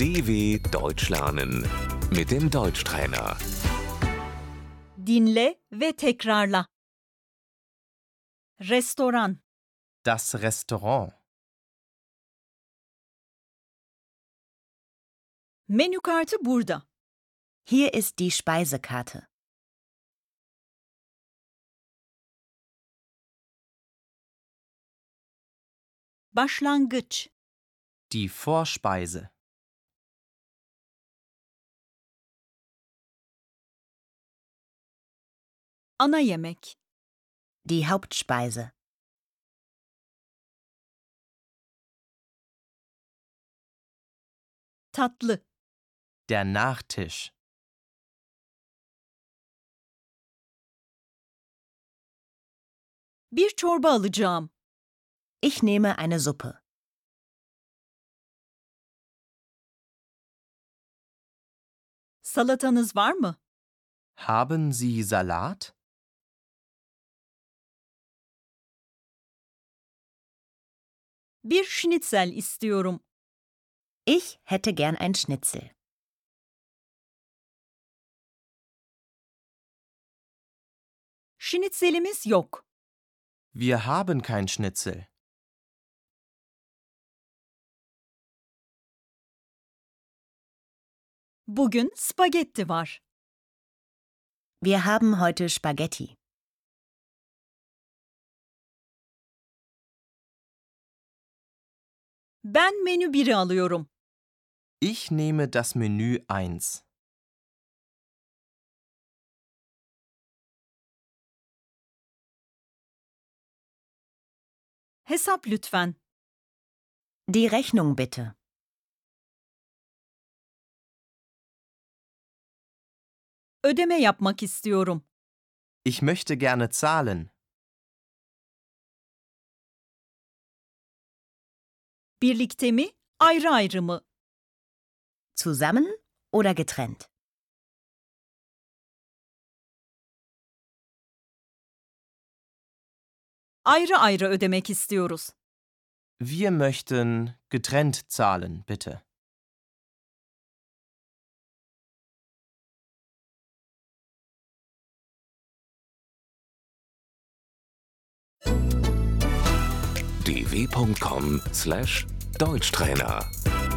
DW Deutsch lernen mit dem Deutschtrainer. Dinle ve tekrarla. Restoran, Das Restaurant. menü kartı burada. Hier ist die Speisekarte. Başlangıç, Die Vorspeise. ana yemek, Die Hauptspeise. tatlı, Der Nachtisch. bir çorba alacağım, Ich nehme eine Suppe. salatanız var mı? Haben Sie Salat? Bir schnitzel istiyorum, Ich hätte gern ein Schnitzel. schnitzelimiz yok. Wir haben kein Schnitzel. Bugün spagetti var. Wir haben heute Spaghetti. Ben menü 1'i alıyorum. Ich nehme das Menü 1. Hesap lütfen. Die Rechnung bitte. Ödeme yapmak istiyorum. Ich möchte gerne zahlen. Birlikte mi, ayrı ayrı mı? Zusammen oder getrennt? Ayrı ayrı ödemek istiyoruz. Wir möchten getrennt zahlen, bitte. dw.com/deutschtrainer